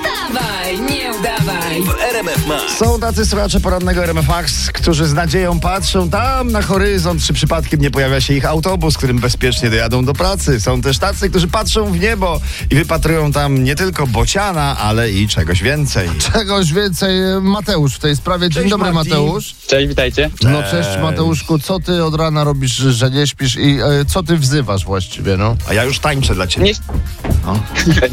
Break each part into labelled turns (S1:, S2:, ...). S1: Wstawaj, nie udawaj!
S2: w RMF Max.
S3: Są tacy słuchacze porannego RMFAX, którzy z nadzieją patrzą tam na horyzont, czy przypadkiem nie pojawia się ich autobus, którym bezpiecznie dojadą do pracy. Są też tacy, którzy patrzą w niebo i wypatrują tam nie tylko bociana, ale i czegoś więcej.
S4: Czegoś więcej e, Mateusz w tej sprawie. Dzień
S3: Cześć,
S4: dobry
S3: Marcin.
S4: Mateusz.
S5: Cześć, witajcie.
S4: No cześć Mateuszku, co ty od rana robisz, że nie śpisz i e, co ty wzywasz właściwie, no?
S3: A ja już tańczę dla ciebie.
S5: Nie,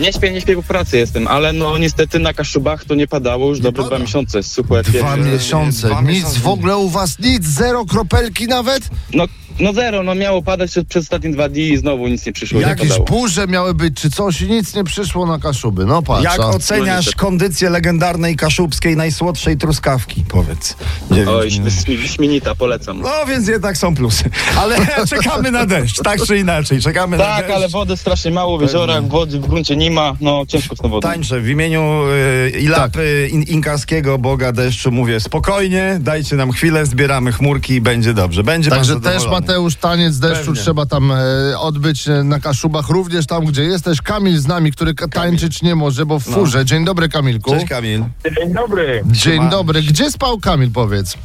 S5: nie śpię, nie śpię, bo w pracy jestem, ale no niestety na Kaszubach to nie padało już dobre dwa miesiące, suche
S4: Dwa
S5: pierwsze.
S4: miesiące,
S3: dwa
S4: nic
S3: miesiące.
S4: w ogóle u was, nic, zero kropelki nawet?
S5: No, no zero, no miało padać przez- przez ostatnie dwa dni i znowu nic nie przyszło, nie
S4: Jakieś
S5: padało.
S4: burze miały być czy coś i nic nie przyszło na Kaszuby, no patrz.
S3: Jak
S4: a.
S3: oceniasz kondycję legendarnej kaszubskiej najsłodszej truskawki? Powiedz. Dziewięć
S5: Oj,
S3: minut.
S5: śmi- śmienita, polecam.
S3: No więc jednak są plusy. Ale czekamy na deszcz, tak czy inaczej. Czekamy na
S5: Tak,
S3: deszcz.
S5: ale wody strasznie mało w jeziorach, wody w gruncie nie ma, no ciężko z tą wodą.
S3: Tańczę w imieniu y, Ilapy in, inkaskiego boga deszczu. Mówię spokojnie, dajcie nam chwilę, zbieramy chmurki i będzie dobrze. Będzie
S4: Także
S3: pan
S4: też
S3: zadowolony.
S4: Mateusz, taniec deszczu
S3: Pewnie.
S4: trzeba tam e, odbyć e, na Kaszubach, również tam, gdzie jesteś. Kamil z nami, który ka- tańczyć nie może, bo w furze. Dzień dobry Kamilku.
S3: No. Cześć Kamil.
S6: Dzień dobry.
S4: Dzień dobry. Gdzie spał Kamil, powiedz?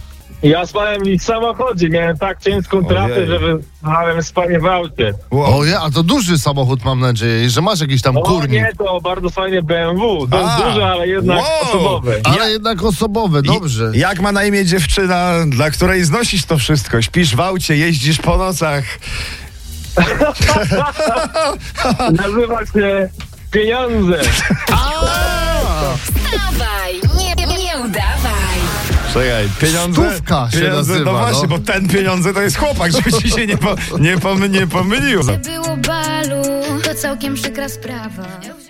S6: Ja spałem w samochodzie. Miałem tak ciężką trafę,
S3: Ojej.
S6: że wyznałem spanie w aucie.
S3: Wow.
S4: Oje, a to duży samochód mam nadzieję, i że masz jakiś tam
S6: O
S4: kurnik.
S6: nie, to bardzo fajnie BMW. To
S3: A.
S6: jest duże, ale jednak
S3: Wow.
S6: osobowe.
S4: Ale jednak osobowy, dobrze.
S3: I, jak ma na imię dziewczyna, dla której znosisz to wszystko? Śpisz w aucie, jeździsz po nocach.
S6: Nazywa się Pieniądze.
S1: Wstawaj, nie, nie udawaj!
S3: Czekaj, pieniądze.
S4: Stówka się
S3: pieniądze,
S4: nazywa,
S3: No
S4: no.
S3: właśnie, bo ten pieniądze to jest chłopak, żeby ci się nie, po, nie, pom, nie pomylił.
S7: było balu, to całkiem przykra sprawa.